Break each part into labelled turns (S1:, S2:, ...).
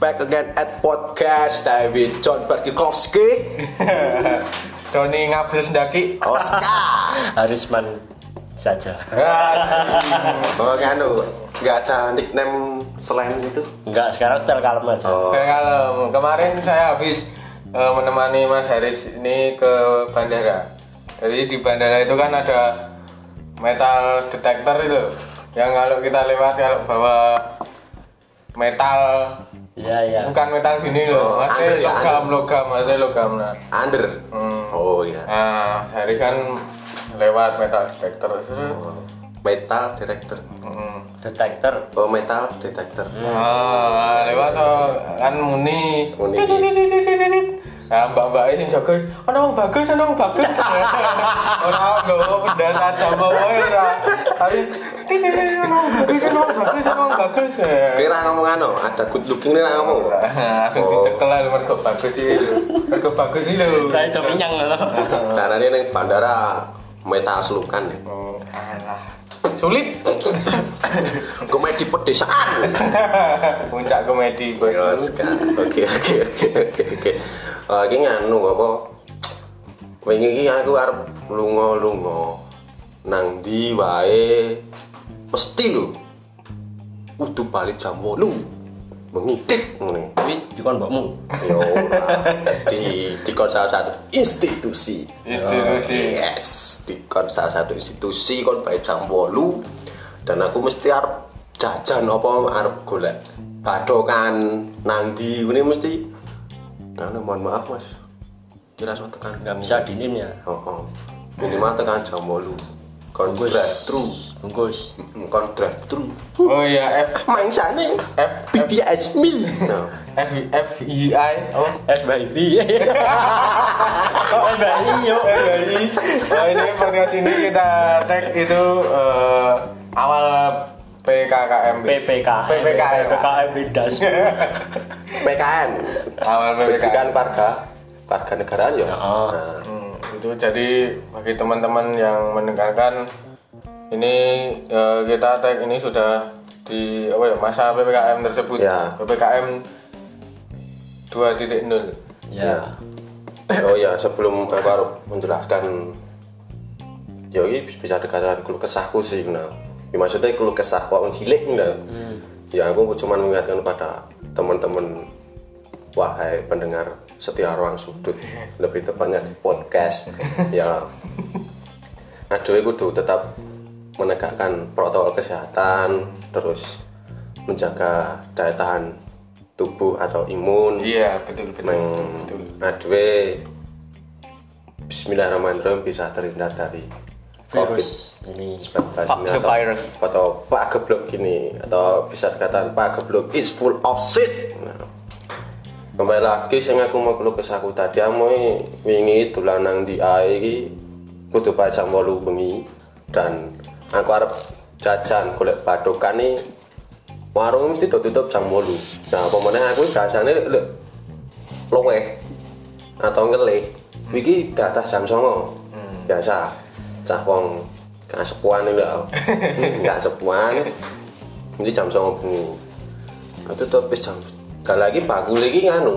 S1: back again at podcast David John Bartikowski
S2: Doni ngabel sendaki.
S1: Oscar
S3: Harisman saja.
S1: oh anu nggak ada nickname selain itu
S3: Enggak, sekarang style kalem aja.
S1: Oh.
S2: Saya kalem. Kemarin saya habis eh, menemani Mas Haris ini ke bandara. Jadi di bandara itu kan ada metal detector itu. Yang kalau kita lewat kalau bawa metal
S3: Iya, iya.
S2: bukan metal gini
S1: Oh,
S2: loh, maksudnya
S1: under ya,
S2: logam, logam, maksudnya logam. Nah,
S1: under oh iya
S2: nah Haris kan lewat metal detector. Seret.
S1: Oh. metal detector
S2: Hmm.
S3: Detektor.
S1: oh metal detector
S2: Ah, lewat tuh kan muni.
S1: Muni.
S2: Dididididididid. Nah, mbak-mbak ini jago, oh nong bagus, oh nong bagus. Orang nggak mau benda tajam apa ora. Tapi, dididididid, oh nong bagus, oh nong bagus, oh nong bagus.
S1: kira ngomong anu ada good looking nih ngomong
S2: Nah, Langsung dicekel lah, mergo bagus sih. Mergo bagus sih lho.
S3: Nah, itu kenyang loh.
S1: karena dia neng bandara metal selukan nih
S2: Oh, alah. Sulit.
S1: komedi pedesaan
S2: Puncak komedi gue.
S1: Yo, Oscar. Oke oke oke oke oke. Eh iki nganu apa? Wingi iki aku arep lunga-lunga nang ndi wae. Mesti lho. Kudu balik jam 8. Mengidik ngene.
S3: Tapi dikon mbokmu.
S1: Yo ora. di di kon salah satu institusi.
S2: Institusi.
S1: Yes, di kon salah satu institusi kon balik jam 8 dan aku mesti arep jajan apa arep golek badokan nang ndi ngene mesti. Nah, mohon maaf Mas. Kira langsung tekan.
S3: Enggak bisa dinin ya.
S1: Heeh. Minimal tekan jam 8. Kon
S3: Bungkus.
S1: drive thru.
S3: Bungkus.
S1: Mm, Kon drive thru.
S2: Oh iya, F
S1: Main sana.
S2: F F
S1: BTS mil. Nah.
S2: F F I I. Oh,
S3: S by V. S by I yo.
S2: Eh, jadi eh, ini podcast ini kita tag itu eh, awal PKKMB
S3: PPKM.
S2: PPKM.
S3: PPKM Bindas.
S1: PKN.
S2: awal PPKM
S1: Pendidikan warga warga negaraan ya.
S3: Heeh.
S1: Nah.
S2: Hmm, itu jadi bagi teman-teman yang mendengarkan ini eh, kita tag ini sudah di apa ya masa PPKM tersebut
S1: Ya.
S2: PPKM 2.0
S3: Ya.
S1: Oh ya, sebelum aku harus menjelaskan ya ini bisa dikatakan keluh kesahku sih nah. Ya, maksudnya keluh kesah wong cilik nah. Ya aku cuma mengingatkan pada teman-teman wahai pendengar setia ruang sudut lebih tepatnya di podcast ya aduh aku tuh tetap menegakkan protokol kesehatan terus menjaga daya tahan tubuh atau imun
S2: iya betul betul
S1: neng
S2: betul, betul.
S1: adwe Bismillahirrahmanirrahim bisa terhindar dari
S3: Virus ini.
S1: COVID-19
S2: Fuck the
S1: atau-
S2: virus.
S1: atau pak geblok ini atau bisa dikatakan pak geblok is full of shit Nah. kembali lagi sing aku mau keluh kesahku tadi amoy wingi dolan nang di ae iki kudu pas jam 8 bengi dan aku arep jajan golek padokan nih warung mesti tutup jam 8 nah pemenang aku biasanya lek luwe atau ngelih iki datah jam 09.00 biasa cah wong gak sepuan iki lho gak sepuan ini jam 09.00 bengi itu tuh wis jam dan lagi bakul iki nganu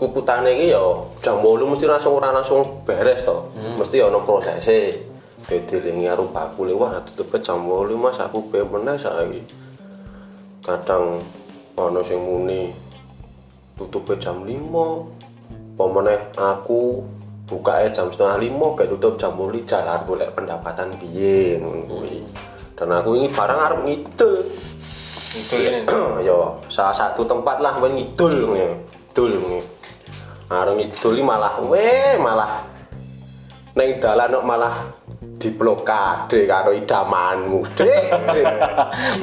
S1: kukutane iki ya jam 8 mesti langsung ora langsung beres to mesti ya ono prosese dilingi karo bakule wah tutup jam 8 Mas aku pe meneh saiki kadang ono sing muni tutupnya jam 5 pemeneh aku buka jam setengah 5 kayak tutup jam 5 jalan boleh pendapatan piye ngono kuwi. dan aku ini barang arep ngidul
S2: itu ini
S1: ya salah satu tempat lah ben ngidul ngono ya. ngidul ngono Nah, arep ngidul ini malah weh malah neng dalan kok malah diblokade karo idamanmu dik dik.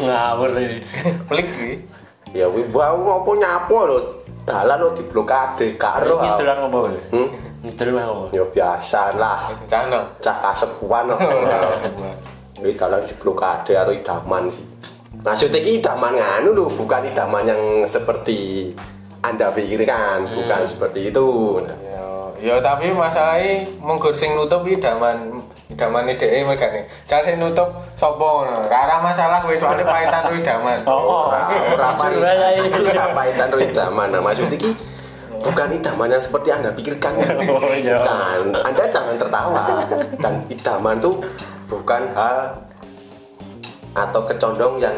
S3: Ngawur ini.
S2: pelik sih
S1: ya kuwi bau ngopo nyapo lho dalan kok diblokade karo
S3: Ini dolan ngopo? weh?
S1: Hmm?
S3: Ngidul mah ngopo?
S1: Ya biasa lah,
S2: Cano
S1: cah kasepuan no. Ini dalam diblokade karo idaman sih. Maksudnya ini idaman nganu lho, bukan idaman yang seperti Anda
S3: Hmm.
S1: pikirkan, bukan seperti itu. Nah,
S2: Ya, ya tapi masalahnya menggur sing nutup idaman Daman ini DE mereka nih. Jangan sih e. nutup sopo ngono. Rara masalah wis soalnya pahitan kuwi daman.
S3: Oh,
S1: ora
S3: jujur aja ini. ya.
S1: apa itu idaman nah, maksud iki bukan idaman yang seperti anda pikirkan
S3: Oh, iya.
S1: bukan anda jangan tertawa dan idaman tuh bukan hal atau kecondong yang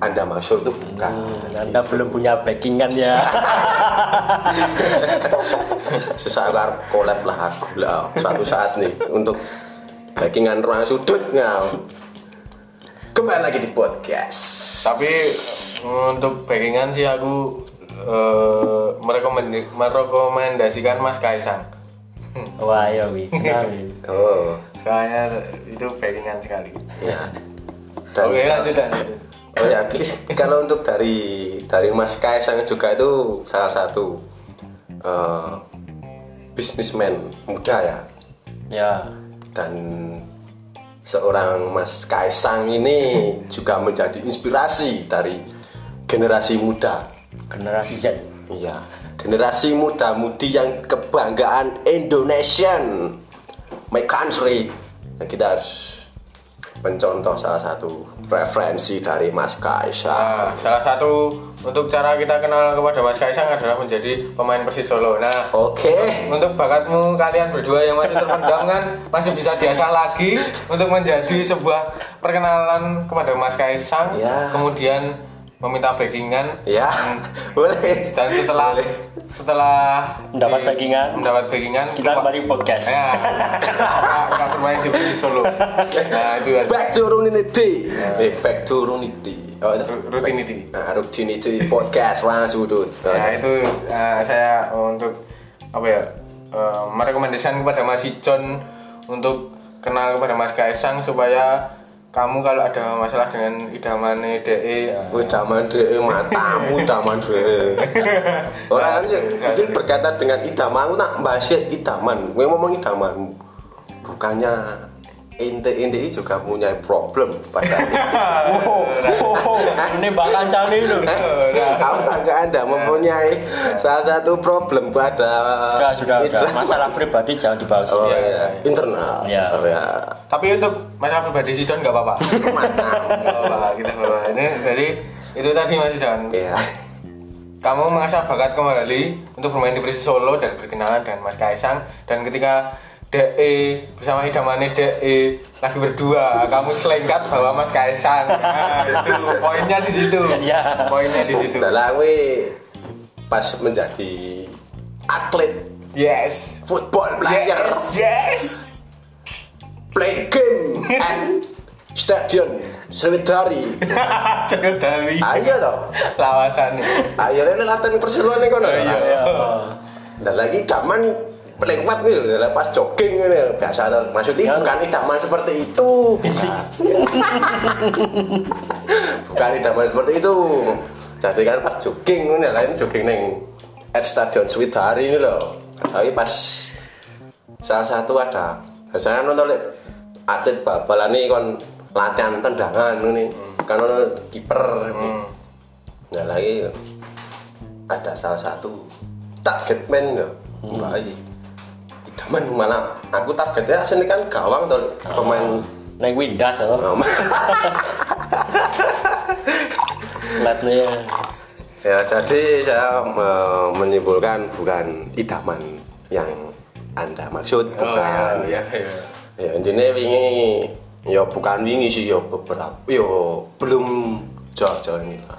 S1: anda maksud tuh bukan
S3: Anda belum punya backingan ya.
S1: sesaat harus collab lah aku lah suatu saat nih untuk backingan ruang sudut nah kembali lagi di podcast
S2: Tapi untuk backingan sih aku eh, merekomendi- merekomendasikan Mas Kaisang.
S3: Wah, ya wi. Kenal, wi.
S1: oh
S2: Soalnya itu backingan sekali.
S1: ya Dan
S2: Oke, lanjut lanjut.
S1: Oh ya, Ki, kalau untuk dari dari Mas Kaisang juga itu salah satu eh, bisnismen muda ya.
S3: Ya.
S1: Dan seorang Mas Kaisang ini juga menjadi inspirasi dari generasi muda.
S3: Generasi Z.
S1: Iya, generasi muda-mudi yang kebanggaan Indonesian, my country. Nah, kita harus mencontoh salah satu referensi dari Mas Kaisang.
S2: Nah, salah satu untuk cara kita kenal kepada Mas Kaisang adalah menjadi pemain Persis Solo. Nah,
S1: Oke.
S2: untuk bakatmu kalian berdua yang masih terpendam kan masih bisa diasah lagi untuk menjadi sebuah perkenalan kepada Mas Kaisang.
S1: Ya.
S2: Kemudian meminta backingan
S1: Ya, boleh.
S2: dan setelah
S1: Boleh.
S2: setelah
S3: Mendapat
S2: di-
S3: backingan.
S2: mendapat backingan
S3: Kita
S2: keluar-
S3: kembali podcast.
S2: Ya, kita- kita bermain di Persis Solo. Nah, itu ada
S1: Back to Runity. Eh, back to Runity. Oh, itu
S2: Ru- rutinity.
S1: Nah, Rutinity podcast Ruang Sudut.
S2: Nah itu eh, saya untuk apa ya eh, merekomendasikan kepada Mas Ijon untuk kenal kepada Mas Kaisang supaya kamu kalau ada masalah dengan idamane DE eh,
S1: Wih, daman deh, matamu daman deh. Orang kan ini berkaitan dengan idaman, aku nak bahas idaman. Gue ngomong idaman, bukannya ente ente ini juga punya problem pada
S3: Oh, ini bahkan cani loh.
S1: apa ke anda mempunyai salah satu problem pada
S3: Sudah, sudah, sudah.
S1: idaman.
S3: Masalah pribadi jangan dibahas.
S1: Oh,
S3: ini.
S1: iya, internal.
S3: Iya.
S1: Oh, ya.
S2: tapi untuk masalah pribadi si John nggak apa-apa Nggak apa-apa, kita nggak apa-apa. ini jadi itu tadi Mas Ijon
S1: Iya.
S2: kamu mengasah bakat kembali untuk bermain di Persis Solo dan berkenalan dengan Mas Kaisang dan ketika DE bersama idamane DE lagi berdua kamu selengkat bawa Mas Kaisang nah, itu poinnya di situ
S3: Iya.
S2: poinnya di situ
S1: Dalam gue Nah, pas menjadi atlet
S2: yes
S1: football player
S2: yes yes
S1: play game and stadion Sriwidari
S2: sekali
S1: ayo toh
S2: lawasannya
S1: ayo ini latihan perseluan nih kono
S3: Iya.
S1: dan lagi zaman lewat nih lho, pas jogging nih biasa toh maksudnya
S3: Ya.
S1: bukan idaman seperti itu
S3: Bicik.
S1: bukan idaman seperti itu jadi kan pas jogging nih lain jogging neng at stadion Sriwidari ini loh tapi pas salah satu ada biasanya kan nonton lek atlet bal-balan nih kon latihan tendangan nih kan ono kiper nah lagi ada salah satu target man ya mbak Ayi idaman malah aku targetnya sini kan gawang tuh Lek. pemain
S3: Neng Windas
S1: Oh.
S3: loh. Selatnya.
S1: ya jadi saya eh, menyimpulkan bukan idaman yang anda maksud
S2: Oh,
S1: bukan
S2: iya,
S1: ya ya intinya wingi ya bukan wingi sih ya beberapa ya belum jauh-jauh ini lah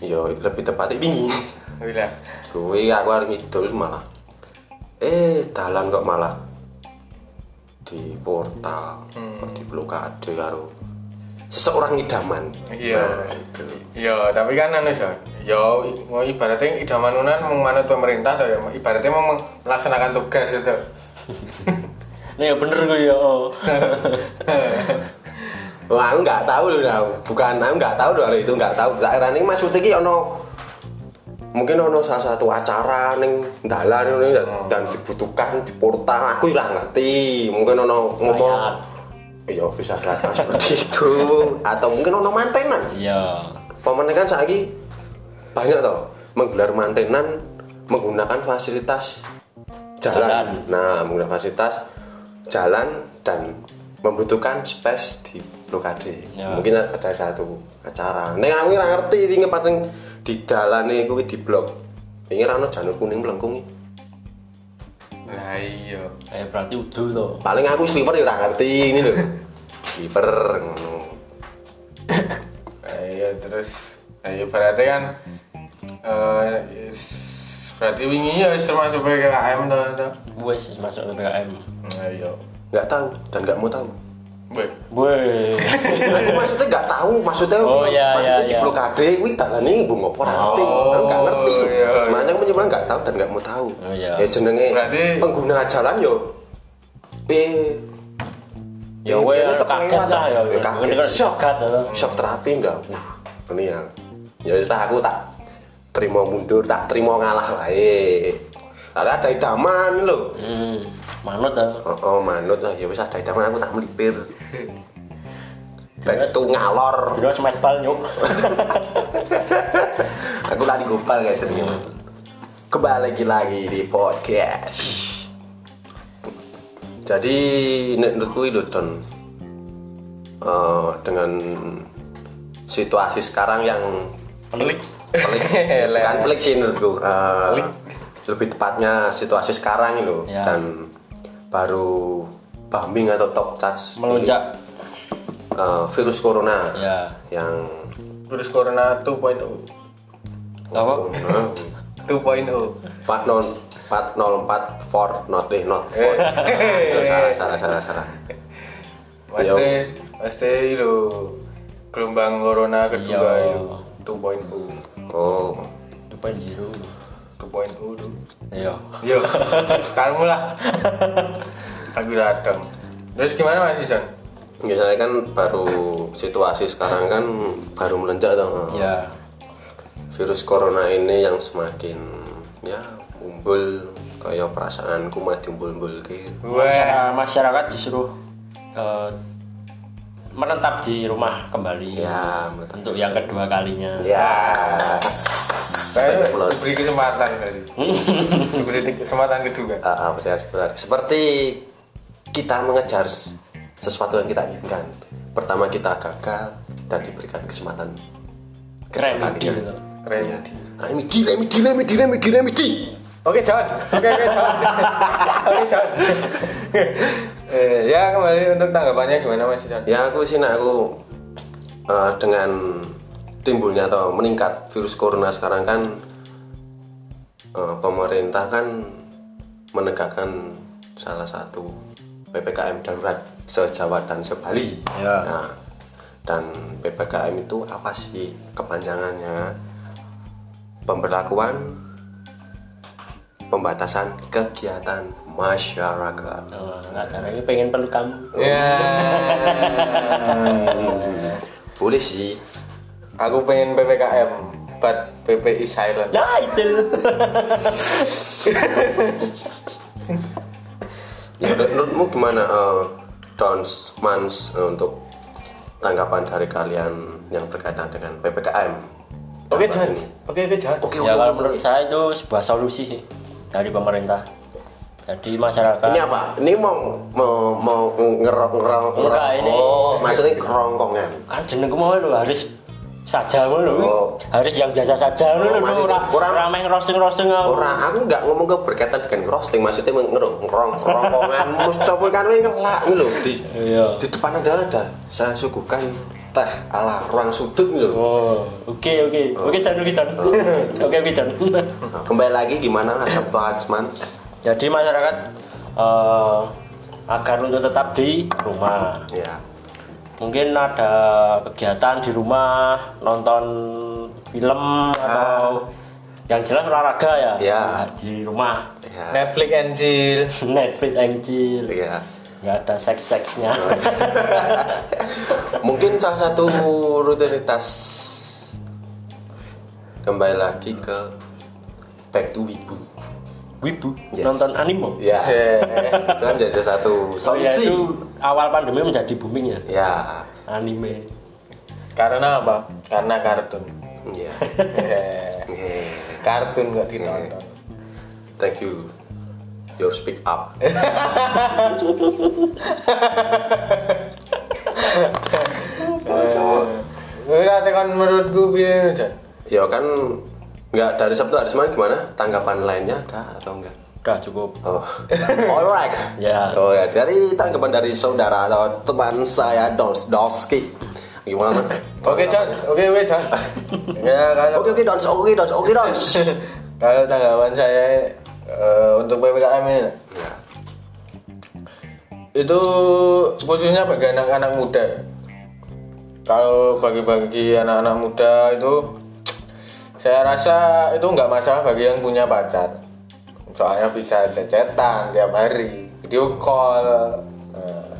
S1: ya lebih tepatnya wingi
S2: Gila.
S1: gue iya, aku harus ngidul malah eh dalan kok malah di portal di blokade karo seseorang idaman
S2: Iya.
S1: Nah, itu.
S2: Iya, tapi kan anu Jon. Yo i- mau ibaratnya idaman unan menganut pemerintah tuh ya. Ibaratnya mau meng- melaksanakan tugas gitu. itu.
S3: Nih ya bener gue ya. oh.
S1: Wah, aku nggak tahu loh, nah. bukan aku nggak tahu loh hal itu nggak tahu. Daerah ini maksudnya ki ono mungkin ono salah satu acara neng dalan ini dan, dan dibutuhkan di portal aku nggak ngerti mungkin ono ngomong
S3: Mayat.
S1: iya bisa datang seperti itu atau mungkin ono mantenan
S3: Iya.
S1: Pemenang kan saat ini banyak toh menggelar mantenan menggunakan fasilitas jalan.
S3: Jalan.
S1: Nah, menggunakan fasilitas jalan dan membutuhkan space di blokade.
S3: Ya.
S1: Mungkin ada satu acara. Nek aku ora ngerti wingi paling di dalane kuwi di blok. Wingi ra ono janur kuning melengkung iki.
S2: Lah iya.
S3: Eh berarti udah to.
S1: Paling aku sliver ya ora ngerti ini lho. Sliver ngono.
S2: Lah iya terus lah iya berarti kan eh is- berarti wingi ya wis termasuk PKM to to.
S3: Wes wis masuk PPKM.
S2: Lah iya.
S1: Nggak tahu dan nggak mau tahu.
S2: Weh.
S3: Weh.
S1: aku maksudnya nggak tahu maksudnya
S3: Oh, iya,
S1: maksudnya
S3: iya,
S1: di
S3: iya.
S1: blokade kuwi dalane ibu ngopo ora ngerti.
S2: Oh,
S1: Aku nggak ngerti.
S2: iya, iya.
S1: Makanya aku mencoba nggak tahu dan nggak mau tahu.
S3: Oh, iya.
S1: Ya jenenge
S2: Berarti-
S1: pengguna jalan yo. P
S3: Ya weh
S1: Ini tetep
S3: kaget
S1: lewat,
S3: lah ya.
S1: ya, kaget.
S3: Ini kan
S1: Shock.
S3: shock to.
S1: shock terapi enggak uh, ini yang ya setelah aku tak terima mundur tak terima ngalah wae ada ada idaman lo
S3: Hmm. Manut to.
S1: oh, oh manut lah ya wis ada idaman aku tak melipir Back to ngalor
S3: Dino smack bal nyuk.
S1: aku lari gopal guys ini kembali lagi lagi di podcast jadi nek menurutku itu Don Eh, dengan situasi sekarang yang
S2: Pelik.
S1: pelik kan pelik sih menurutku Eh, lebih tepatnya situasi sekarang itu
S3: Ya.
S1: dan baru bombing atau top charge
S3: Melonjak.
S1: eh, virus corona
S3: Ya.
S1: yang
S2: Virus corona oh. 2.0.
S3: Apa?
S1: eh,
S2: 2.0.
S1: 40 404 for not eh not for Aduh, salah salah salah salah
S2: Pasti pasti itu gelombang corona kedua
S3: Iya.
S2: itu 2.0.
S1: oh
S3: Depan jiru.
S2: 2.0 tuh.
S3: Iya.
S2: Yo, kamu lah. Aku datang. Terus gimana Mas Ijan?
S1: ya saya kan baru situasi sekarang kan baru melonjak dong
S3: Ya.
S1: virus corona ini yang semakin ya umbul kayak perasaanku mah timbul-umbul ke
S2: Wah,
S3: Masyarakat, masyarakat disuruh eh, menetap di rumah kembali.
S1: ya menurut
S3: Untuk yang kedua kalinya.
S1: ya
S2: saya
S1: Plus.
S2: diberi kesempatan tadi. diberi kesempatan kedua.
S1: ah, ah, benar, benar. seperti kita mengejar sesuatu yang kita inginkan pertama kita gagal dan diberikan kesempatan
S3: Remedi itu.
S2: Keren.
S1: remedi remedi remedi remedi remedi
S2: Oke John, oke oke John, oke John. eh, ya kembali untuk tanggapannya gimana Mas Ijan?
S1: ya aku sih nak aku eh, dengan timbulnya atau meningkat virus corona sekarang kan eh, pemerintah kan menegakkan salah satu ppkm darurat se Jawa dan se Bali.
S3: Ya.
S1: Nah, dan ppkm itu apa sih kepanjangannya? Pemberlakuan pembatasan kegiatan masyarakat.
S3: Nah, nggak cara ini pengen peluk kamu.
S2: Ya,
S1: Boleh sih.
S2: aku pengen PPKM, but PPI silent.
S3: Ya itu.
S1: Ya, menur- menurutmu gimana eh, downs months eh, untuk tanggapan dari kalian yang berkaitan dengan ppkm?
S2: Oke
S1: Dalam hal
S2: John,
S1: ini.
S2: oke oke John.
S1: Oke
S3: ya
S1: oke,
S3: kalau
S1: oke.
S3: menurut saya itu sebuah solusi sih dari pemerintah. Jadi masyarakat.
S1: Ini apa? Ini mau mau mau ngerong ngerong
S3: Enggak,
S1: ngerong-
S3: ini-
S1: Oh, maksudnya kerongkongan.
S3: Ah jenengku mau lho harus saja ngono lho.
S1: Oh.
S3: Harus yang biasa saja
S1: Oh,
S3: ngono lho
S1: maksudnya
S3: ora ora
S1: kurang-
S3: main rosing-rosing ngono.
S1: Orang aku nggak ngomong ke berkaitan dengan roasting, maksudnya ngerong ngerong kerongkongan. Mus coba kan ini ngelak ini loh di
S3: Iya.
S1: di depan ada ada. Saya suguhkan teh ala ruang sudut ini loh.
S3: Oh, oke oke. Oke Jan, oke Jan.
S1: Oh.
S3: Oke oke Jan. Oh.
S1: Nah, Kembali lagi gimana mas Sabtu Asman?
S3: Jadi masyarakat eh, agar untuk tetap di rumah.
S1: Ya.
S3: mungkin ada kegiatan di rumah nonton film atau yang jelas olahraga ya
S1: Ah. Ya.
S3: Nah, di rumah
S1: Ya.
S2: Netflix and chill.
S3: Netflix and chill
S1: Ya.
S3: nggak ada seks seksnya
S1: Mungkin salah satu rutinitas kembali lagi ke back to wibu.
S3: wibu
S1: Yes.
S3: nonton anime
S1: Ya, itu kan jadi satu
S3: oh ya
S1: solusi.
S3: itu awal pandemi menjadi booming ya
S1: Ya,
S3: anime
S2: Karena apa? Karena kartun.
S1: ya. Eh,
S2: Eh, Iya. kartun nggak ditonton.
S1: Thank you. your speak up
S2: Ora tekan menurutku piye Jan?
S1: ya kan nggak dari Sabtu hari Senin gimana tanggapan lainnya ada atau enggak
S3: Udah cukup.
S1: oh alright
S3: Ya.
S1: oh ya dari tanggapan dari saudara atau teman saya Dos Doski gimana
S2: Oke Jan, oke we Jan. Ya kalau
S1: oke oke Dons oke Dons oke Dons
S2: kalau tanggapan saya eh, untuk PPKM ini
S1: Ya.
S2: itu khususnya bagi anak-anak muda. Kalau bagi-bagi anak-anak muda itu saya rasa itu nggak masalah bagi yang punya pacar. Soalnya bisa cecetan tiap hari, video call. Nah,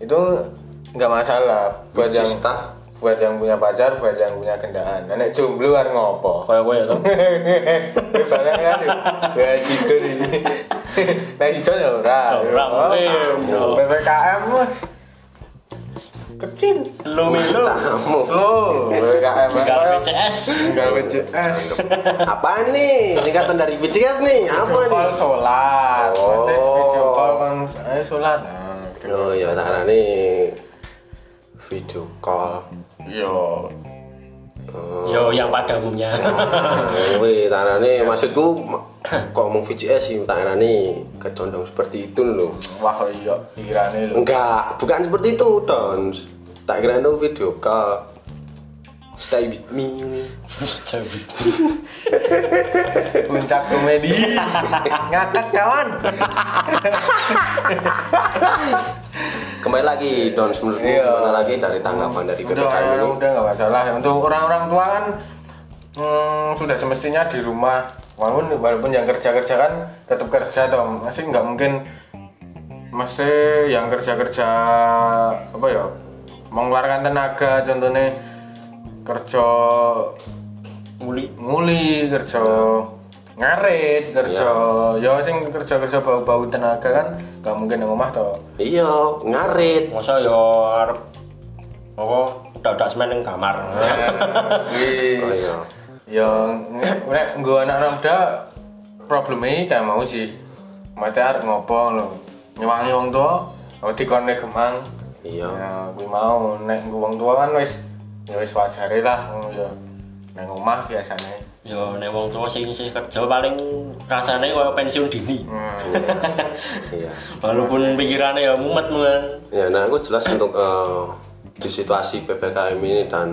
S2: itu nggak masalah buat yang
S1: Wijista.
S2: buat yang punya pacar, buat yang punya kendaan. Nenek jomblo kan ngopo.
S3: Kayak gue ya toh.
S2: Barang kan ya gitu nih. Nah gitu ya ora.
S3: Ora, mungkin.
S2: PPKM mas. Kecil.
S3: Lu milu.
S1: kamu
S2: Lo PPKM.
S3: Tinggal PCS.
S2: Tinggal BCS.
S1: apa nih singkatan dari BCS nih apa nih
S2: Call sholat.
S1: Oh.
S2: Pasti video call kan ayo sholat. Nah, gitu.
S1: oh ya karena nih video call
S2: Yo.
S1: Oh.
S3: Yo yang pada umumnya.
S1: Ya. Wih, tanane maksudku ma- kok ngomong VCS sih tanane kecondong seperti itu loh.
S2: Wah iya pikirannya lo.
S1: Enggak, bukan seperti itu, Don. Tak kira itu video call. Stay with me.
S3: Cabut.
S2: Puncak komedi. Ngakak kawan.
S1: Kembali lagi, Don. Menurutmu
S2: Iya.
S1: gimana lagi dari tanggapan dari
S2: Untuk
S1: PPKM ini?
S2: orang-orang udah nggak masalah. Untuk orang-orang tua kan hmm, sudah semestinya di rumah. Walaupun walaupun yang kerja-kerja kan tetap kerja toh masih nggak mungkin masih yang kerja-kerja apa ya mengeluarkan tenaga contohnya kerja
S3: Muli.
S2: nguli kerja ngarit kerja ya sing kerja-kerja bau-bau tenaga kan nggak mungkin di rumah toh
S1: Iya, ngarit.
S3: Masa yo arep apa dadak semen ning kamar.
S1: Oh iya.
S2: Ya, nek nggo anak muda probleme kayak mau sih. Mate arep ngopo lho. Nyewangi wong tua, oh dikonne gemang.
S1: Iya.
S2: Ya, kuwi mau nek nggo wong tua kan wis ya wis wajare lah ngono ya. Nek omah biasane.
S3: Yo Ya nek wong tua sing isih kerja paling rasane koyo pensiun dini.
S1: Iya.
S3: Walaupun pikirannya ya mumet men.
S1: Ya, nah aku jelas untuk eh, di situasi PPKM ini dan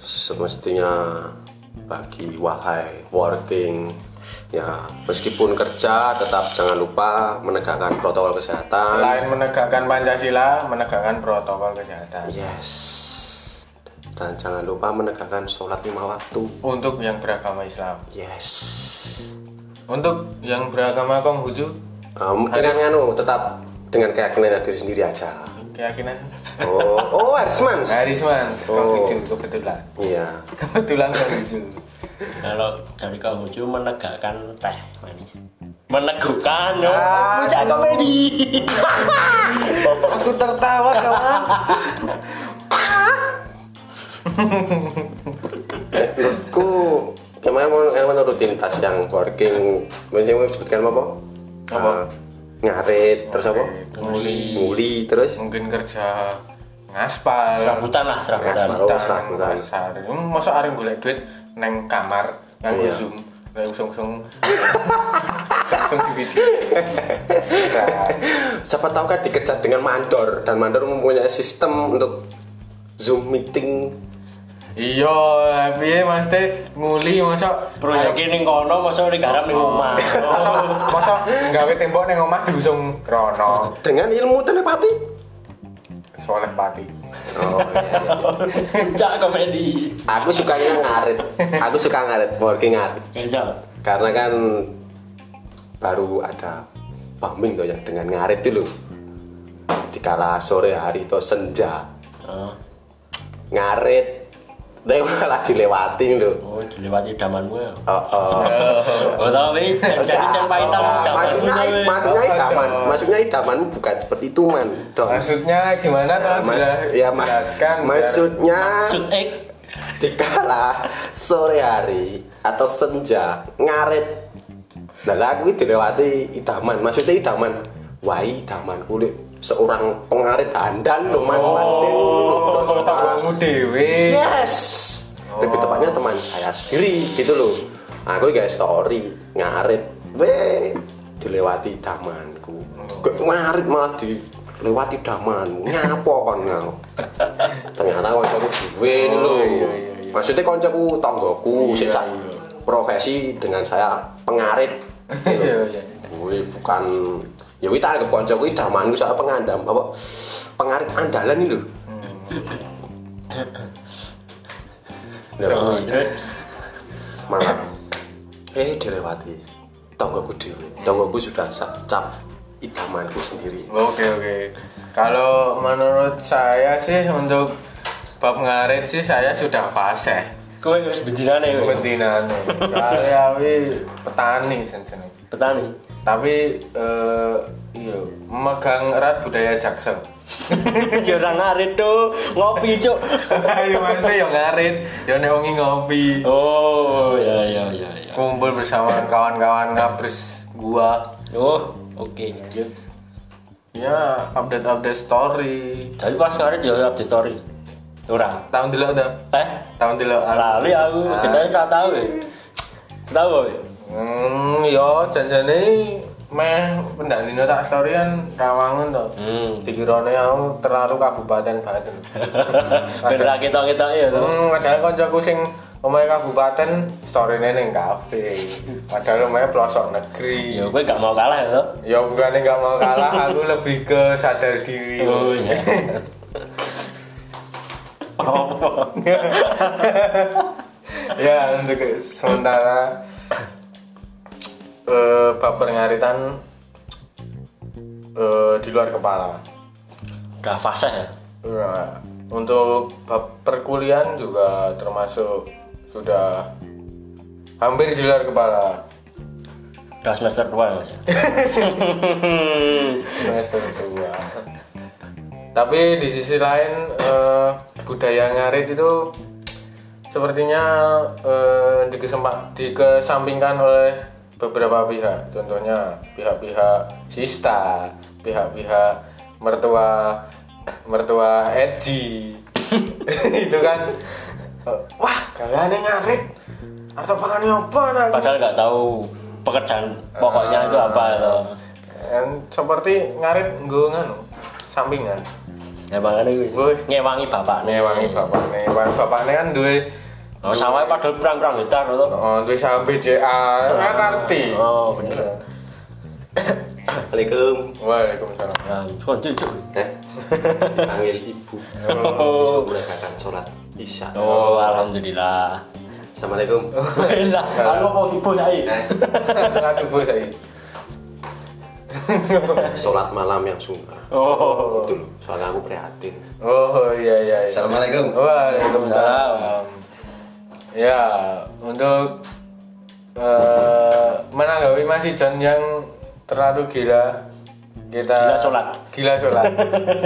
S1: semestinya bagi wahai working ya meskipun kerja tetap jangan lupa menegakkan protokol kesehatan.
S2: Selain menegakkan Pancasila, menegakkan protokol kesehatan.
S1: Yes. Dan jangan lupa menegakkan sholat lima waktu.
S2: Untuk yang beragama Islam.
S1: Yes.
S2: Untuk yang beragama Konghucu,
S1: Eh, dengan anu tetap dengan keyakinan diri sendiri aja.
S2: keyakinan
S1: Oh, oh Arsman.
S2: Harisman,
S1: Oh.
S2: Konghucu kebetulan.
S1: Iya.
S2: Kebetulan Konghucu.
S3: Kalau dari kamu cuma menegakkan teh manis. Meneguhkan yo. Puncak komedi.
S2: Aku tertawa kawan.
S1: menurutku kemarin mau rutinitas yang working maksudnya mau sebutkan apa apa ngarit terus apa
S3: Muli.
S1: muli terus
S2: Mungkin kerja ngaspal.
S3: Serabutan lah, serabutan.
S1: Serabutan. Oh,
S2: Tangan
S1: serabutan.
S2: kasar. Hmm, Masa areng golek duit neng kamar nganggo
S1: Iya.
S2: Zoom. Nek usung-usung. Usung di video. Nah,
S1: siapa tahu kan dikejar dengan mandor dan mandor mempunyai sistem untuk zoom meeting
S2: Iya, piye Mas Teh nguli masa
S3: Proyek ning kono masa digarap ning omah.
S2: masa masa gawe tembok neng omah diusung rono
S1: dengan ilmu telepati
S2: soleh pati.
S1: oh, iya, iya.
S3: Puncak komedi.
S1: aku sukanya ngarit aku suka ngarit working ngarit
S3: Kayak
S1: karena kan baru ada bumming tuh ya dengan ngarit itu loh dikala sore hari itu senja
S3: Oh,
S1: ngarit tapi malah dilewatin lho
S3: oh dilewati damanmu ya.
S1: oh, oh.
S3: Oh, tapi jadi
S1: Enggak,
S3: yang pahitan
S1: oh,
S3: damanmu,
S1: maksudnya
S3: tapi.
S1: maksudnya
S2: Oh,
S1: idaman
S2: Jon.
S1: maksudnya idamanmu bukan seperti itu man dong
S2: Maksudnya gimana tolong
S1: Mas-
S2: jelas,
S1: ya ma-
S2: jelaskan biar-
S1: maksudnya
S3: Maksud ek
S1: dikala sore hari atau senja ngarit Nah, lah aku iki dilewati idaman, maksudnya idaman. Wai idaman kulit seorang pengarit handal lho man
S2: Oh, kamu dewe.
S1: Yes. Lebih tepatnya teman saya sendiri gitu loh. Aku guys story ngarit. Weh, dilewati damanku. Kok ngarit malah dilewati damanmu. Ngapo kon kau? Ternyata kancaku duwe lho. Maksudnya kancaku tanggoku sing sak profesi dengan saya pengarit.
S2: Iya, iya.
S1: Kuwi bukan ya kuwi tak anggap kanca kuwi damanku sak pengandam apa pengarit andalan ini lho. Nah,
S2: Sama, terus.
S1: malah eh dilewati tonggoku dewi tonggoku sudah cap idamanku sendiri
S2: Oke oke. Kalau menurut saya sih untuk bab ngarit sih saya sudah fase.
S3: Kowe wis bendinane kowe.
S2: Betinane. Kali awi petani senjene.
S3: petani.
S2: Tapi eh iya memegang erat budaya Jaksel.
S3: Ya ora ngarit tuh, ngopi cuk.
S2: Iya maksudnya ya ngarit, ya nek wengi ngopi.
S3: Oh, ya ya ya ya.
S2: Kumpul bersama kawan-kawan ngabres gua.
S3: Oh, oke.
S2: Ya update-update story.
S3: Tapi pas ngarit ya update story. Ora.
S2: Tahun dulu udah.
S3: Eh,
S2: Tahun dulu.
S3: lali aku, kita wis ora tahu. ya. Tahu kowe?
S2: Hmm, yo janjane meh pendandino tak storyan rawangun to.
S3: Hmm.
S2: Dikirane aku terlalu kabupaten banget. lho.
S3: Ben ra ketok-ketok ya tuh.
S2: Hmm, padahal koncoku sing omahe kabupaten storyne ning kafe. Padahal omahe pelosok negeri.
S3: Ya kowe gak mau kalah ya tuh.
S2: Ya bukannya nggak mau kalah, aku lebih ke sadar diri.
S3: Oh iya. Apa?
S2: ya untuk sementara eh bab pengaritan eh, di luar kepala.
S3: Udah fase ya.
S2: Nah, untuk bab perkuliahan juga termasuk sudah hampir di luar kepala
S3: Udah semester 2 Mas. ya.
S2: semester dua. Tapi di sisi lain eh, budaya ngarit itu sepertinya eh, dikesempat dikesampingkan oleh beberapa pihak. Contohnya pihak-pihak sista, pihak-pihak mertua mertua edgy. itu kan eh, wah kalian ngarit atau pakan apa nang
S3: Padahal gak tahu pekerjaan pokoknya itu apa
S2: Dan
S3: tuh.
S2: Kan seperti ngarit nggo nganu sampingan.
S3: Ya makanya
S2: Woi.
S3: gue ngewangi bapak nih.
S2: Newangi bapakne. Wah, Bapakne kan duwe
S3: Oh, sawahnya padahal perang-perang ya, hektar tuh.
S2: oh, duwe saham BCA, kan arti.
S3: Oh, bener.
S1: assalamualaikum
S2: Waalaikumsalam.
S3: Nah, konjul cuk.
S1: eh panggil ibu
S3: Oh.
S1: Besok merayakan sholat isya
S3: Oh, alhamdulillah.
S1: assalamualaikum
S3: Lah, aku mau ibu nyai.
S1: eh
S2: Aduh boy tadi.
S1: sholat malam yang sunnah
S3: Oh,
S1: itu loh soalnya aku prihatin
S2: Oh iya iya. iya.
S1: Assalamualaikum.
S2: Waalaikumsalam. Ya, untuk eh, menanggapi Mas Ijon yang terlalu gila kita
S3: Gila sholat.
S2: gila sholat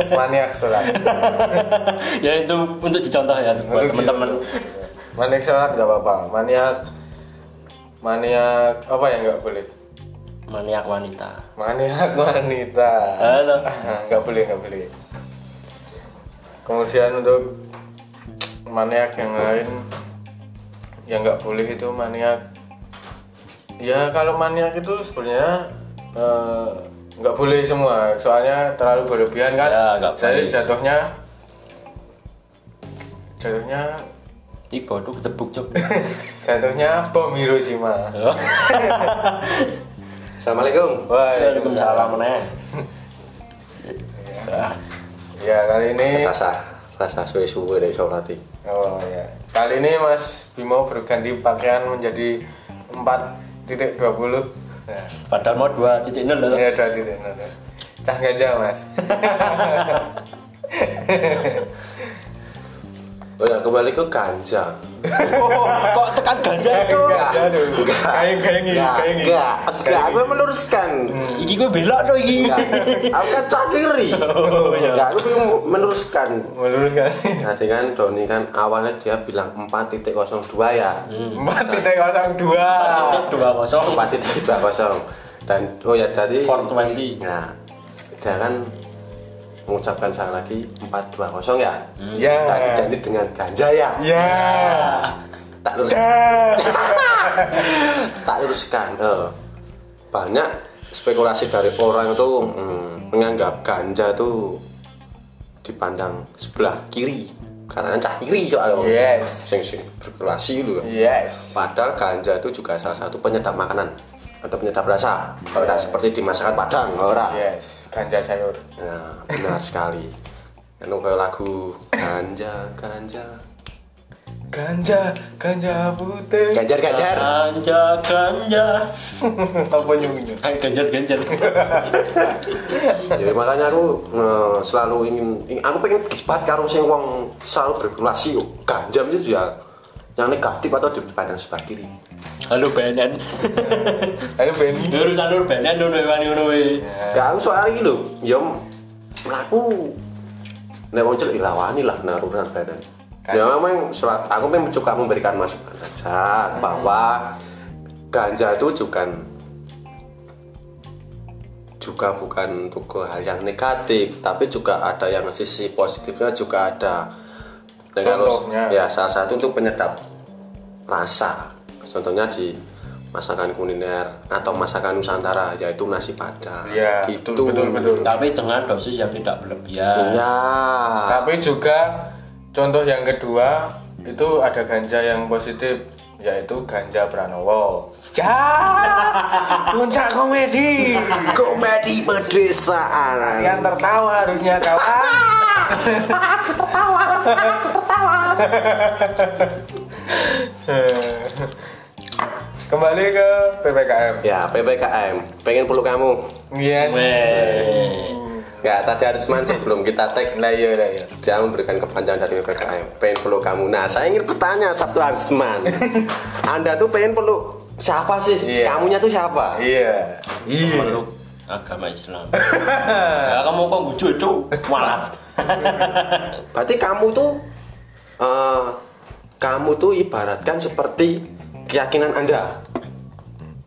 S2: maniak sholat
S3: ya itu untuk dicontoh ya buat teman-teman.
S2: maniak sholat gak apa-apa maniak maniak apa yang nggak boleh
S3: Maniak wanita.
S2: Maniak wanita.
S3: Halo.
S2: Enggak boleh, enggak boleh. Kemudian untuk maniak yang lain yang nggak boleh itu maniak ya kalau maniak itu sebenarnya eh, nggak boleh semua soalnya terlalu berlebihan kan
S3: Ya, nggak
S2: jadi
S3: boleh.
S2: jatuhnya jatuhnya
S3: Tiba tuh ketebuk cuk.
S2: jatuhnya bom Hiroshima
S1: assalamualaikum
S3: Waalaikumsalam meneh.
S2: ya kali ini
S1: rasa rasa suwe suwe dari sholat ini.
S2: Oh ya. Kali ini Mas Bimo berganti pakaian menjadi 4.20. Nah,
S3: Padahal mau 2.0 loh.
S2: ya 2.0. Cah ganja, Mas.
S1: Oh ya kembali ke ganja.
S3: kok tekan ganja itu
S2: kayak kayak gini kayak Hmm. gini
S1: Enggak, enggak, aku meluruskan.
S3: iki gue belok tuh iki
S1: Enggak, Aku kan cak kiri.
S2: Oh, iya.
S1: Enggak, aku pengen meluruskan.
S2: menurut kan
S1: Nah dengan Doni kan awalnya dia bilang 4.02 ya.
S2: empat titik kosong dua
S3: dua kosong
S1: 4.20 dan oh ya jadi
S3: four twenty
S1: Nah, dia kan mengucapkan saya lagi 420 ya.
S2: Ya.
S1: Tak identik dengan ganja ya.
S2: ya
S1: Tak lurus,
S2: Eh. Dah.
S1: tak luruskan. Eh, Banyak spekulasi dari orang itu hmm, menganggap ganja itu dipandang sebelah kiri karena cah kiri soalnya wong.
S2: Yes.
S1: sing sing spekulasi dulu
S2: yes
S1: padahal ganja itu juga salah satu penyedap makanan atau penyedap rasa Tidak seperti di masakan padang orang
S2: yes ganja sayur
S1: Nah, benar sekali. Anu kayak lagu Ganja, Ganja.
S2: ganja ganja putih
S1: Ganjar, Ganjar.
S3: ganja ganja
S2: apa nyungnya
S3: Hai, ganjar ganjar
S1: Jadi makanya aku eh, selalu ingin, ingin- aku pengen berdebat karo sing wong selalu berkulasi ganja itu ya yang negatif atau dipandang sebelah kiri.
S3: halo BNN
S2: ada Benny
S3: Ini urusan lu BNN lu wani ngono we
S1: Ya aku soal iki lho, ya mlaku nek wong cilik dilawani lah nek urusan badan. Ya memang surat aku memang suka memberikan masukan saja bahwa ganja itu juga juga bukan untuk ke hal yang negatif, tapi juga ada yang sisi positifnya juga ada. Dan kalau-
S2: Contohnya?
S1: ya salah satu untuk penyedap rasa. Contohnya di masakan kuliner atau masakan Nusantara yaitu nasi padang.
S2: ya
S1: Gitu.
S2: betul betul betul
S3: tapi dengan dosis yang tidak berlebihan
S1: Iya.
S2: tapi juga contoh yang kedua itu ada ganja yang positif yaitu ganja Pranowo. Jah, puncak komedi.
S1: Komedi pedesaan.
S2: Yang tertawa harusnya kawan. Kembali ke PPKM.
S1: Ya, PPKM. Pengen peluk kamu.
S2: Iya.
S3: Weh.
S1: Ya, tadi Arisman sebelum kita tag
S2: Lah iya lah iya.
S1: dia memberikan kepanjangan dari PPKM. Pengen peluk kamu. Nah, saya ingin bertanya Sabtu Arisman. Anda tuh pengen peluk siapa sih?
S2: Iya.
S1: Kamunya tuh siapa?
S2: Iya.
S3: Memeluk agama Islam ya kamu kok lucu itu malah
S1: Berarti kamu tuh eh, kamu tuh ibaratkan seperti keyakinan Anda.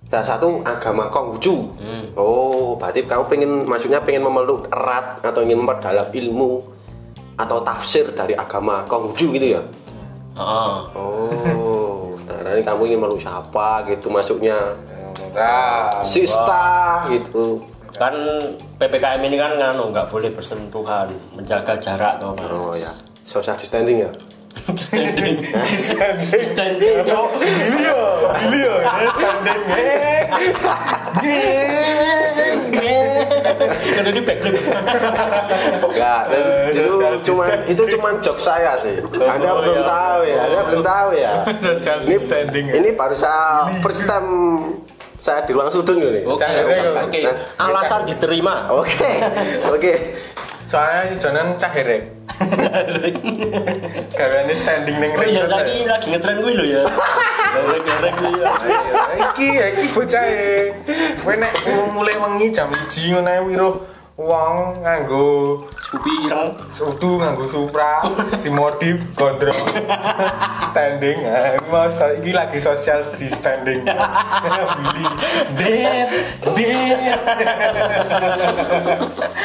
S1: Salah satu agama Konghucu. Oh, berarti kamu pengen maksudnya pengen memeluk erat atau ingin memperdalam ilmu atau tafsir dari agama Konghucu gitu ya.
S3: Heeh.
S1: Oh, nah ini kamu ingin meluk siapa gitu masuknya?
S2: Nah,
S1: Sista gitu.
S3: kan PPKM ini kan nganu nggak boleh bersentuhan menjaga jarak toh Pak.
S1: Oh ya, social distancing ya.
S3: standing standing Cok.
S2: Gilio, Gilio, ya, standing.
S3: Kalau di backflip
S1: Enggak, dan itu cuma itu cuma jok saya sih. Anda
S3: Oh,
S1: belum
S3: iya.
S1: tahu ya, Anda belum tahu ya.
S2: Social
S1: Ini
S2: standing. ya.
S1: Ini baru saya first time saya di ruang sudun ini.
S3: oke
S1: Saya ungkapkan.
S3: oke
S1: Nah,
S3: alasan diterima
S1: Oke, oke.
S2: Soalnya si Jonan cah herek. Gaweane standing ning
S3: Oh iya, lagi lagi ngetren gue lo ya. Gara-gara gue ya.
S2: Iki ya, iki bocah e. Kowe nek mulai wengi jam 1 ngono ae wiruh wong nganggo
S3: Scoopy ireng.
S2: Sudu nganggo Supra, dimodif gondrong. standing. Ah, ini mau sta- iki lagi sosial di standing. Beli.
S3: Det, det.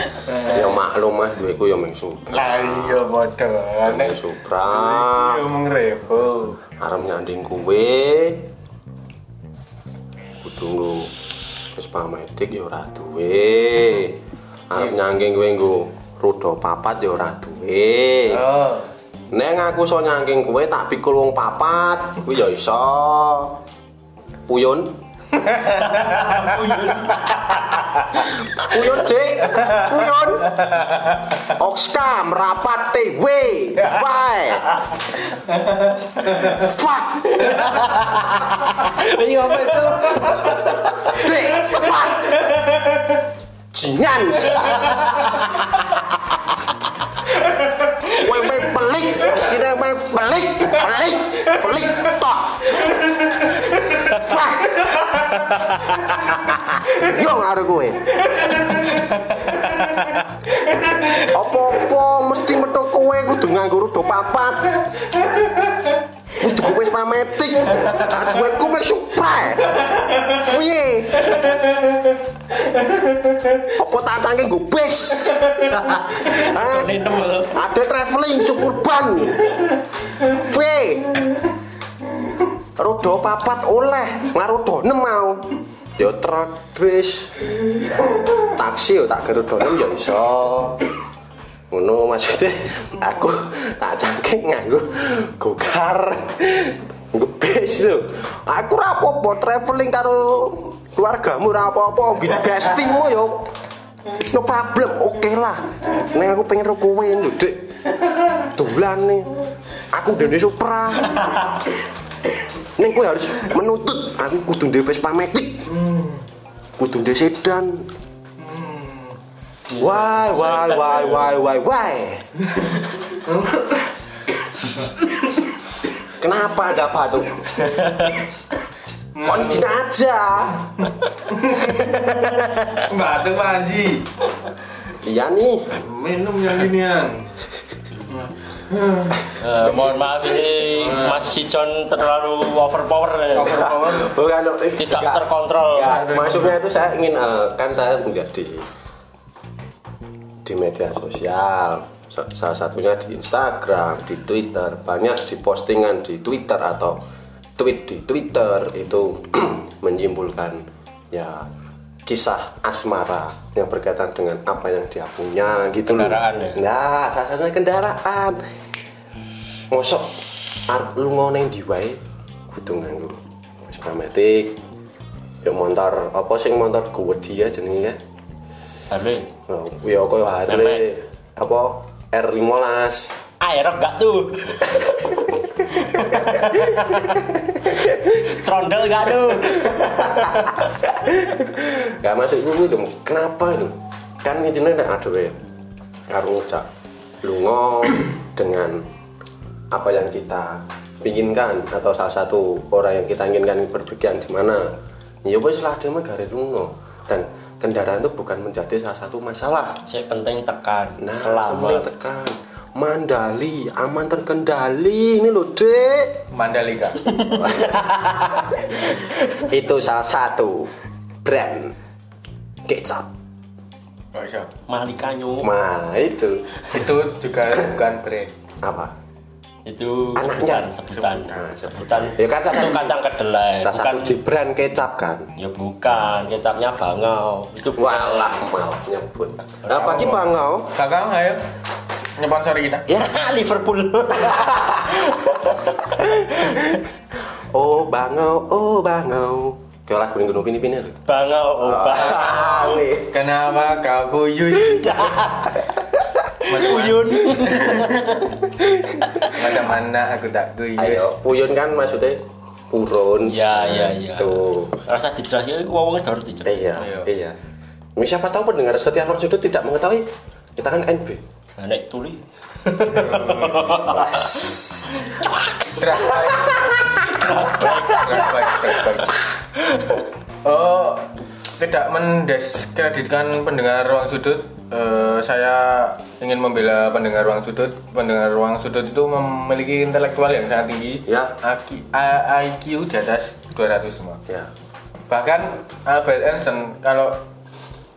S1: Ya maklum mas, duitku ya meng Supra.
S2: Lah iya padha.
S1: Meng
S2: Nek
S1: Supra,
S3: Ah.
S2: iya mung revo.
S1: arep nyanding kuwe. Kudu nggo wis pamedik ya ora duwe. Arep nyangking kuwe nggo roda papat ya ora duwe.
S2: Oh.
S1: Neng aku iso nyangking kowe tak pikul wong papat, kuwi ya iso. Puyun. Puyun, Dik. Puyun. Oxcam rapat TW. Bye. Fuck.
S3: Ini apa itu?
S1: Dik. Fuck. Jingan. Wewe pelik, sine wewe Yo ngaruh kowe. Apa-apa mesti metu kowe kudu nganggo roda papat. Wis tuku wis pametik. Aduhku wis supre. Piye? Apa tak tangke nggo bis? Hah?
S3: Nentem lho.
S1: Ada traveling suburban. V. Rodo papat oleh, ngarodo nem mau. Yo truk, bis. Taksi yo tak garodo nem yo iso. Ngono maksudnya aku tak cangking nganggo gokar. Nggo bis lho. Aku ra apa-apa traveling karo keluargamu ra apa-apa, bestingmu yo. No problem, oke lah. Neng aku pengen ro kowe lho, Dik. Dolane. Aku dene supra. Neng kowe harus menuntut aku kudu ndek Vespa Matic. Kudu ndek sedan.
S3: Hmm.
S1: Why, why, why, why, why, why? Kenapa ada apa tuh? Kontin aja.
S2: Batuk Panji.
S1: Iya nih.
S2: Minum yang ginian.
S3: Eh, mohon maaf ini Mas Sicon terlalu overpower ya.
S2: Power power.
S1: Bukan, Dok. Eh,
S3: Tidak
S1: enggak.
S3: terkontrol.
S1: Enggak, maksudnya itu saya ingin eh, kan saya enggak di di media sosial. Sa- Salah satunya di Instagram, di Twitter, banyak di postingan di Twitter atau tweet di Twitter itu menyimpulkan ya kisah asmara yang berkaitan dengan apa yang dia punya gitu loh.
S3: Kendaraan ya?
S1: Nah, salah satunya kendaraan. Mosok arep lunga ning ndi wae kudu nganggo Vespa Matic. Ya motor apa sing motor gede ya jenenge ya?
S3: Harley.
S1: Nah, Ya Oh, koyo Harley apa R15.
S3: Aerok gak tuh? Trondel gak tuh?
S1: Gak masuk gue dong. Kenapa ini? Kan ngijinnya nek aduwe. Karo ngejak lunga dengan apa yang kita inginkan atau salah satu orang yang kita inginkan berpergian di mana ya wis lah dia mah gare lunga dan kendaraan itu bukan menjadi salah satu masalah
S3: Saya penting tekan,
S1: Nah, sebelum
S3: selamat.
S1: tekan. Mandali, aman terkendali ini loh dek.
S2: Mandalika.
S1: Itu salah satu brand kecap.
S2: Gak bisa.
S3: Malikanyu
S1: Nah itu
S2: Itu juga bukan brand.
S1: apa?
S3: itu
S1: Anaknya.
S3: sebutan, sebutan,
S1: Nah,
S3: sebutan.
S1: Ya kan salah
S3: Itu
S1: satu,
S3: kacang kedelai,
S1: salah
S3: bukan
S1: satu di brand kecap kan.
S3: Ya bukan, kecapnya bangau. Itu bukan.
S1: Walah malah nyebut. Nah, pagi bangau.
S2: Kakak ayo nyponsori kita.
S3: Ya Liverpool.
S1: Oh bangau, oh bangau. Kayak lagu yang gunung pini pini loh.
S3: bangau
S1: Ah.
S3: obat.
S1: Aneh.
S2: Kenapa kau kuyus?
S3: Uyun.
S2: Macam mana aku tak kuyus?
S1: Ayo, puyun kan maksudnya purun.
S3: Ya, ya, ya.
S1: Tuh.
S3: Rasa dijelasin wong-wong harus dijelasin.
S1: Iya,
S2: Iya.
S1: iya. Ini Siapa tahu pendengar setia Rock Sudut tidak mengetahui kita kan NB.
S3: Nah, nek tuli.
S2: Track back. Track back, track back, track back. Oh, tidak mendiskreditkan pendengar ruang sudut. Eh, saya ingin membela pendengar ruang sudut. Pendengar ruang sudut itu memiliki intelektual yang sangat tinggi.
S1: Ya.
S2: IQ, A- IQ di atas 200 semua.
S1: Ya.
S2: Bahkan Albert Einstein kalau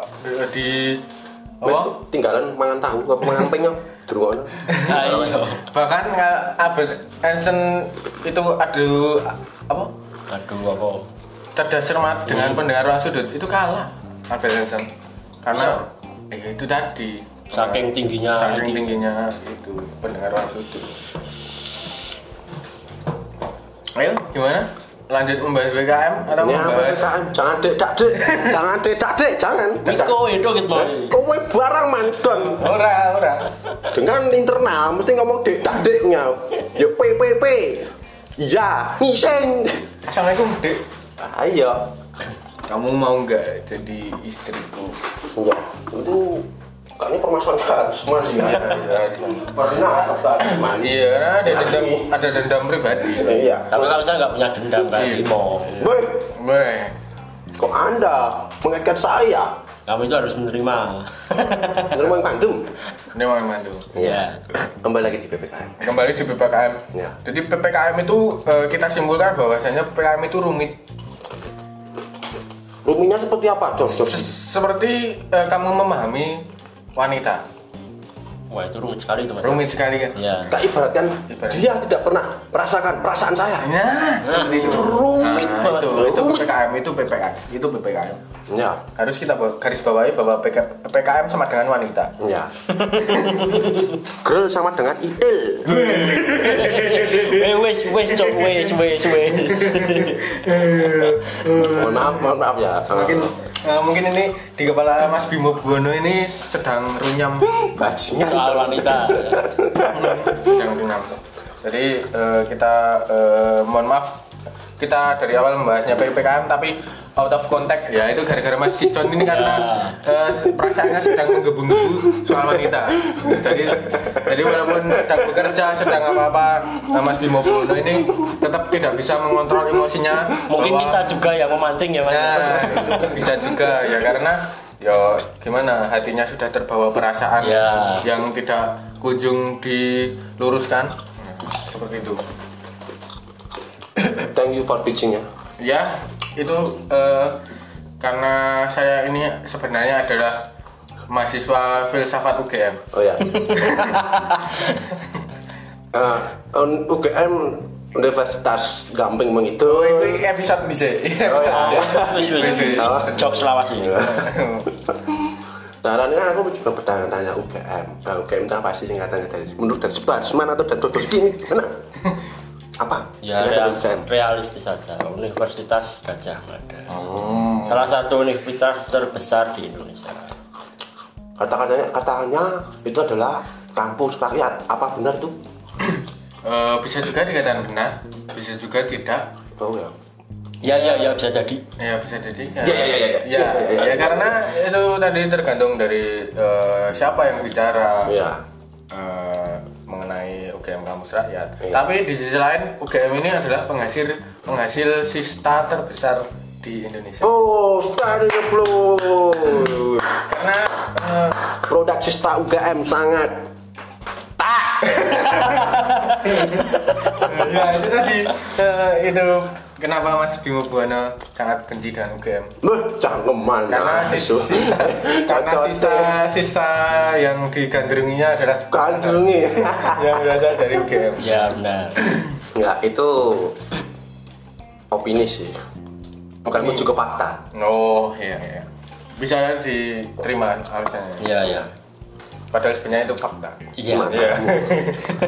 S2: eh, di
S1: Wes
S2: apa?
S1: tinggalan mangan tahu apa mangan penyo durungono.
S3: Ayo.
S2: Bahkan eh, Albert Einstein itu aduh apa?
S3: Aduh apa?
S2: cerdas cermat dengan pendengar ruang sudut itu kalah Abel Hansen karena eh, itu tadi
S3: Saking tingginya
S2: saking
S3: itu.
S2: tingginya itu pendengar ruang sudut ayo gimana lanjut membahas BKM atau
S1: Ya,
S2: membahas
S1: PPKM. jangan dek dak dek, jangan dek dak dek, jangan.
S3: Niko itu gitu mau.
S1: Kowe barang mandon
S2: ora ora
S1: dengan internal mesti ngomong dek dak deknya. Yo PPP. Iya, Ah, ngising.
S2: assalamualaikum dek
S1: Ayo.
S2: kamu mau nggak jadi istriku
S1: Ya, itu kami permasalahan karisma sih. Pernah ada karisma.
S2: iya ada dendam ada dendam pribadi
S1: Iya.
S3: Iya. Tapi kalau saya nggak punya dendam kayak
S2: Iya.
S3: Timo.
S1: Woi,
S2: Weh,
S1: Kok Anda mengaitkan saya?
S3: Kamu itu harus menerima.
S1: Ngomong pandum.
S2: Ini mau yang mandu.
S3: Iya.
S1: Kembali lagi di PPKM.
S2: Kembali di PPKM.
S1: Ya.
S2: Jadi PPKM itu eh, kita simpulkan bahwasanya PPKM itu rumit.
S1: Ruminya seperti apa, Jos? Jos?
S2: Se- Seperti eh, kamu memahami wanita.
S3: Wah itu rumit sekali itu mas.
S2: Rumit sekali kan?
S3: Iya.
S1: Tak ibaratkan
S2: Ibarat.
S1: dia tidak pernah merasakan perasaan saya.
S2: Nah, seperti itu.
S3: Rumit
S2: Nah,
S3: banget.
S2: itu,
S3: bro.
S2: itu PPKM, itu PPKM, itu PPKM.
S1: Ya,
S2: Harus kita bawa- garis bawahi bahwa PK PPKM sama dengan wanita.
S1: ya. Girl sama dengan itil.
S3: Eh wes wes cok wes wes wes.
S1: Mohon maaf, mohon maaf ya.
S2: Mungkin eh, mungkin ini di kepala Mas Bimo Buwono ini sedang runyam,
S1: bajingan.
S3: Soal wanita.
S2: sedang runyam. Jadi eh, kita eh, mohon maaf kita dari awal membahasnya PPKM tapi out of contact ya itu gara-gara Mas Sicon ini karena
S3: Ya.
S2: eh, perasaannya sedang menggebu-gebu soal wanita jadi jadi walaupun sedang bekerja sedang apa-apa eh, Mas Bimo Buwono ini tetap tidak bisa mengontrol emosinya
S3: Mungkin
S2: bahwa-
S3: kita juga yang memancing ya mas.
S2: Nah, bisa juga ya karena ya gimana hatinya sudah terbawa perasaan
S3: Ya.
S2: yang tidak kunjung diluruskan seperti itu.
S1: Thank you for teaching-nya.
S2: Ya, itu eh, karena saya ini sebenarnya adalah mahasiswa filsafat UGM.
S1: Oh ya. Eh, un- UGM Universitas Gamping Iya.
S2: Oh,
S1: Menghitung.
S2: itu episode di sini.
S3: Ah, Wes wes wes wes. Iya. Cok selawas ini.
S1: Nah, karena aku juga bertanya-tanya UGM. Nah, UGM itu apa sih singkatannya dari menurut dari sebelah mana atau dari dua ini gimana? Apa?
S3: Ya
S1: Singkatan
S3: real-
S1: UGM.
S3: realistis saja. Universitas Gajah Mada. Salah satu universitas terbesar di Indonesia.
S1: Kata-katanya, katanya itu adalah kampus rakyat. Apa benar itu?
S2: Eh, bisa juga dikatakan benar, bisa juga tidak.
S1: Oh ya.
S3: Ya ya ya bisa jadi.
S2: Ya bisa jadi. Ya
S1: Ya, ya, ya, ya.
S2: Ya,
S1: Ya, ya, ya.
S2: ya, karena itu tadi tergantung dari eh, siapa yang bicara
S1: Iya.
S2: eh, mengenai UGM kampus rakyat.
S1: Iya.
S2: ya. Tapi di sisi lain UGM ini adalah penghasil penghasil sista terbesar di Indonesia.
S1: Oh, stereo plus.
S2: Karena eh,
S1: Produk sista UGM sangat
S2: ya itu tadi eh, itu kenapa Mas Bimo Buwana sangat benci dengan UGM.
S1: Beh, cangkeman Nah,
S2: Karena sisa, sisa- karena
S1: Cocok.
S2: sisa sisa yang digandrunginya adalah
S1: Kandrungi.
S2: yang berasal dari UGM.
S3: Ya benar.
S1: Enggak, itu opini sih. Bukan menuju ke fakta.
S2: Oh iya iya. Bisa diterima alasannya.
S3: Ya ya.
S2: Padahal sebenarnya itu fakta.
S3: Iya.
S2: Iya.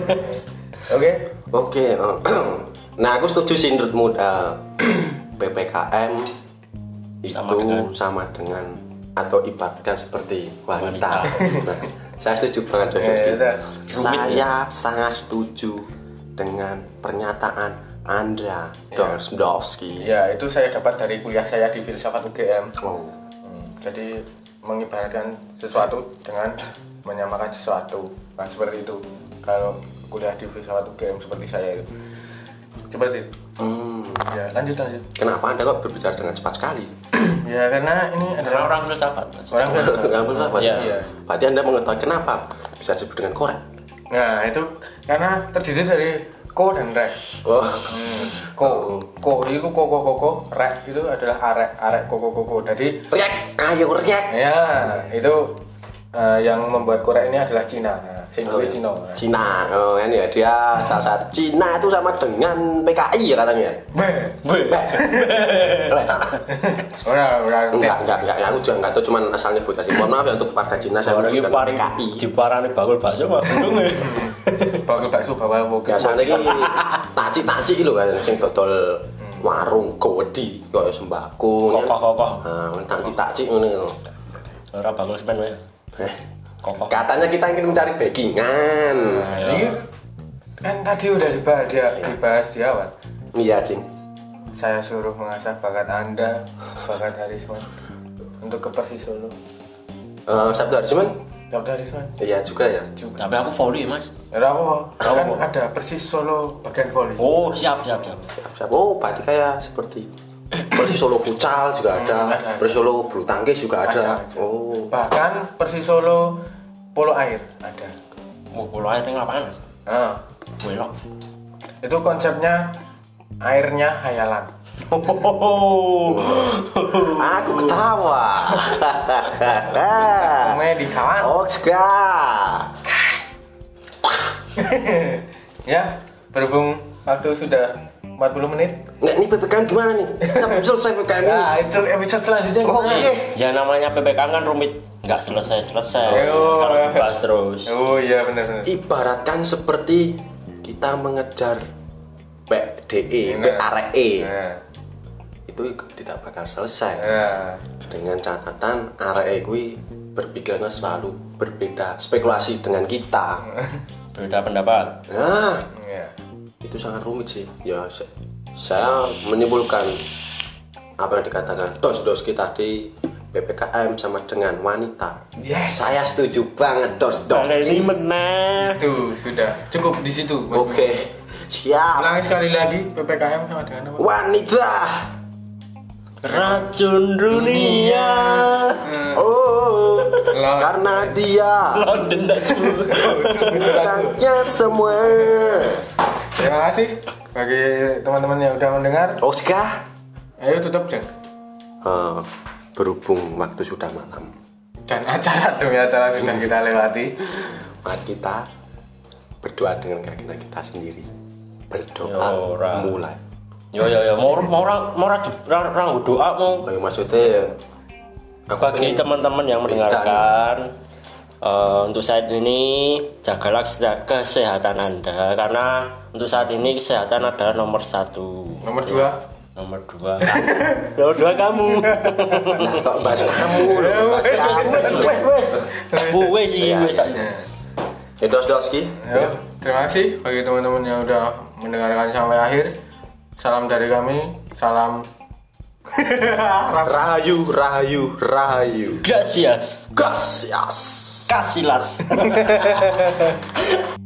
S2: Oke.
S1: Oke. eh, nah, aku setuju sih menurutmu eh, PPKM itu
S3: Sama
S1: sama
S3: dengan?
S1: dengan, atau ibaratkan seperti wanita. Eh, Nah, saya setuju banget Jojo.
S2: Ya, ya,
S1: saya sangat setuju dengan pernyataan Anda Dosdowski.
S2: Ya itu saya dapat dari kuliah saya di filsafat UGM.
S1: Oh.
S2: Hmm, jadi mengibaratkan sesuatu dengan menyamakan sesuatu. Nah seperti itu. Kalau kuliah di filsafat UGM seperti saya itu. Seperti itu.
S1: Hmm,
S2: Ya lanjut lanjut.
S1: Kenapa Anda kok berbicara dengan cepat sekali?
S2: Ya karena ini
S3: Karena
S2: adalah
S3: orang filsafat mas.
S2: orang filsafat.
S1: Kenapa sahabat?
S3: Iya.
S1: Nah, Berarti Anda mengetahui kenapa bisa disebut dengan korek.
S2: Nah itu karena terdiri dari ko dan re.
S1: Oh.
S2: Ko, ko itu ko ko ko ko, rek itu adalah arek arek ko ko ko ko. Jadi
S1: Riak, ayo riak.
S2: ya itu eh, yang membuat korek ini adalah Cina. Nah, sing
S1: Oh,
S2: kuwi Cina. Nah.
S1: Cina, oh, ini ya dia salah satu Cina itu sama dengan PKI ya katanya.
S2: Beh.
S1: Eh,
S2: Ora ora ngerti.
S1: enggak, enggak, enggak, aku juga enggak tahu, cuman asal nyebut aja. Mohon maaf ya untuk warga Cina saya
S3: Orang ini
S1: menyebutkan
S3: paling
S1: PKI.
S3: diparani bakul bakso mah bingung ya.
S2: Bakul bakso bawa boga.
S1: Biasanya ini taci-taci lho kan, sing dodol warung godi, kayak sembako.
S3: Kokoh-kokoh.
S1: Nah, taci-taci ini.
S3: Orang bakul semen ya.
S1: Eh,
S3: Kokoh.
S1: Katanya kita ingin mencari backingan.
S3: Ayo.
S2: Ini kan tadi udah dibahas dia dibahas di awal.
S1: Iya, Cing.
S2: Saya suruh mengasah bakat Anda, bakat Harisman untuk ke Persis Solo.
S1: Eh, Sabtu Harjiman?
S2: Jawab Harisman.
S1: Iya juga ya.
S2: Juga.
S3: Tapi aku volley mas.
S2: Ya, Rawo,
S3: Rawo.
S2: kan ada persis Solo bagian volley.
S3: Oh siap siap siap.
S1: Siap, siap. Oh, berarti kayak seperti Persis Solo futsal juga Hmm, ada,
S2: ada.
S1: Persis Solo bulu tangkis juga ada.
S2: Ada.
S1: Oh,
S2: bahkan Persis Solo polo air ada
S3: Mau pulau air ini ngapain?
S2: nah,
S1: Ah.
S3: Belok.
S2: itu konsepnya airnya hayalan
S1: aku ketawa.
S2: namanya di kawan
S1: Oh, Oxga.
S2: ya berhubung waktu sudah 40 menit
S1: Nggak, ini PPKM gimana nih? Sampai selesai PPKM ini.
S2: nah itu episode selanjutnya
S1: Oke.
S2: gimana?
S3: Ya namanya PPKM kan rumit, nggak selesai selesai.
S2: Ayo.
S3: Kalau dibahas terus.
S2: oh iya benar-benar
S1: Ibaratkan seperti kita mengejar E, PDE,
S2: Bener.
S1: PRE.
S2: nah,
S1: Itu tidak bakal selesai.
S2: nah.
S1: Dengan catatan RE kuwi berpikirnya selalu berbeda, spekulasi dengan kita.
S3: Beda pendapat.
S1: Nah,
S2: Ya.
S1: itu sangat rumit sih ya se- saya menimbulkan apa yang dikatakan dos-doski tadi PPKM sama dengan wanita
S2: Yes.
S1: saya setuju banget dos-doski
S3: menang.
S2: itu sudah cukup di situ
S1: oke siap
S2: ulangi sekali lagi PPKM sama dengan apa?
S1: wanita
S3: Racun dunia.
S1: oh
S2: Lah.
S1: karena dia
S3: London dah cuy.
S1: bukannya semua
S2: terima kasih bagi teman-teman yang udah mendengar
S1: Oh, Oscar
S2: ayo tutup jeng
S1: Eh, berhubung waktu sudah malam
S2: dan acara demi acara sudah kita lewati
S1: Mari kita berdoa dengan kaki kita sendiri.
S3: Ya
S1: Berdoa
S3: Yora.
S1: mulai.
S3: Yo yo yo, mau mau orang mau orang orang- orang doa mau
S1: Kayak maksudnya ya, aku
S3: bagi
S2: Oh.
S1: pengen-
S3: teman-teman yang mendengarkan eh, untuk saat ini jagalah kese- kesehatan anda karena untuk saat ini kesehatan adalah nomor satu
S2: nomor dua
S3: nomor dua nomor dua kamu
S1: Nah, kok bahas kamu
S3: Eh,
S1: loh, bahas
S2: Wes,
S1: kamu.
S2: wes, wes, wes.
S3: gue sih
S1: Iya,
S3: gue
S1: iya.
S3: sih. eh.
S1: Ya, dos-doski.
S2: Ayo, terima kasih bagi teman-teman yang udah mendengarkan sampai akhir salam dari kami salam
S1: Rahayu, rahayu, rahayu.
S3: gracias
S1: Gas, yes.
S3: kasilas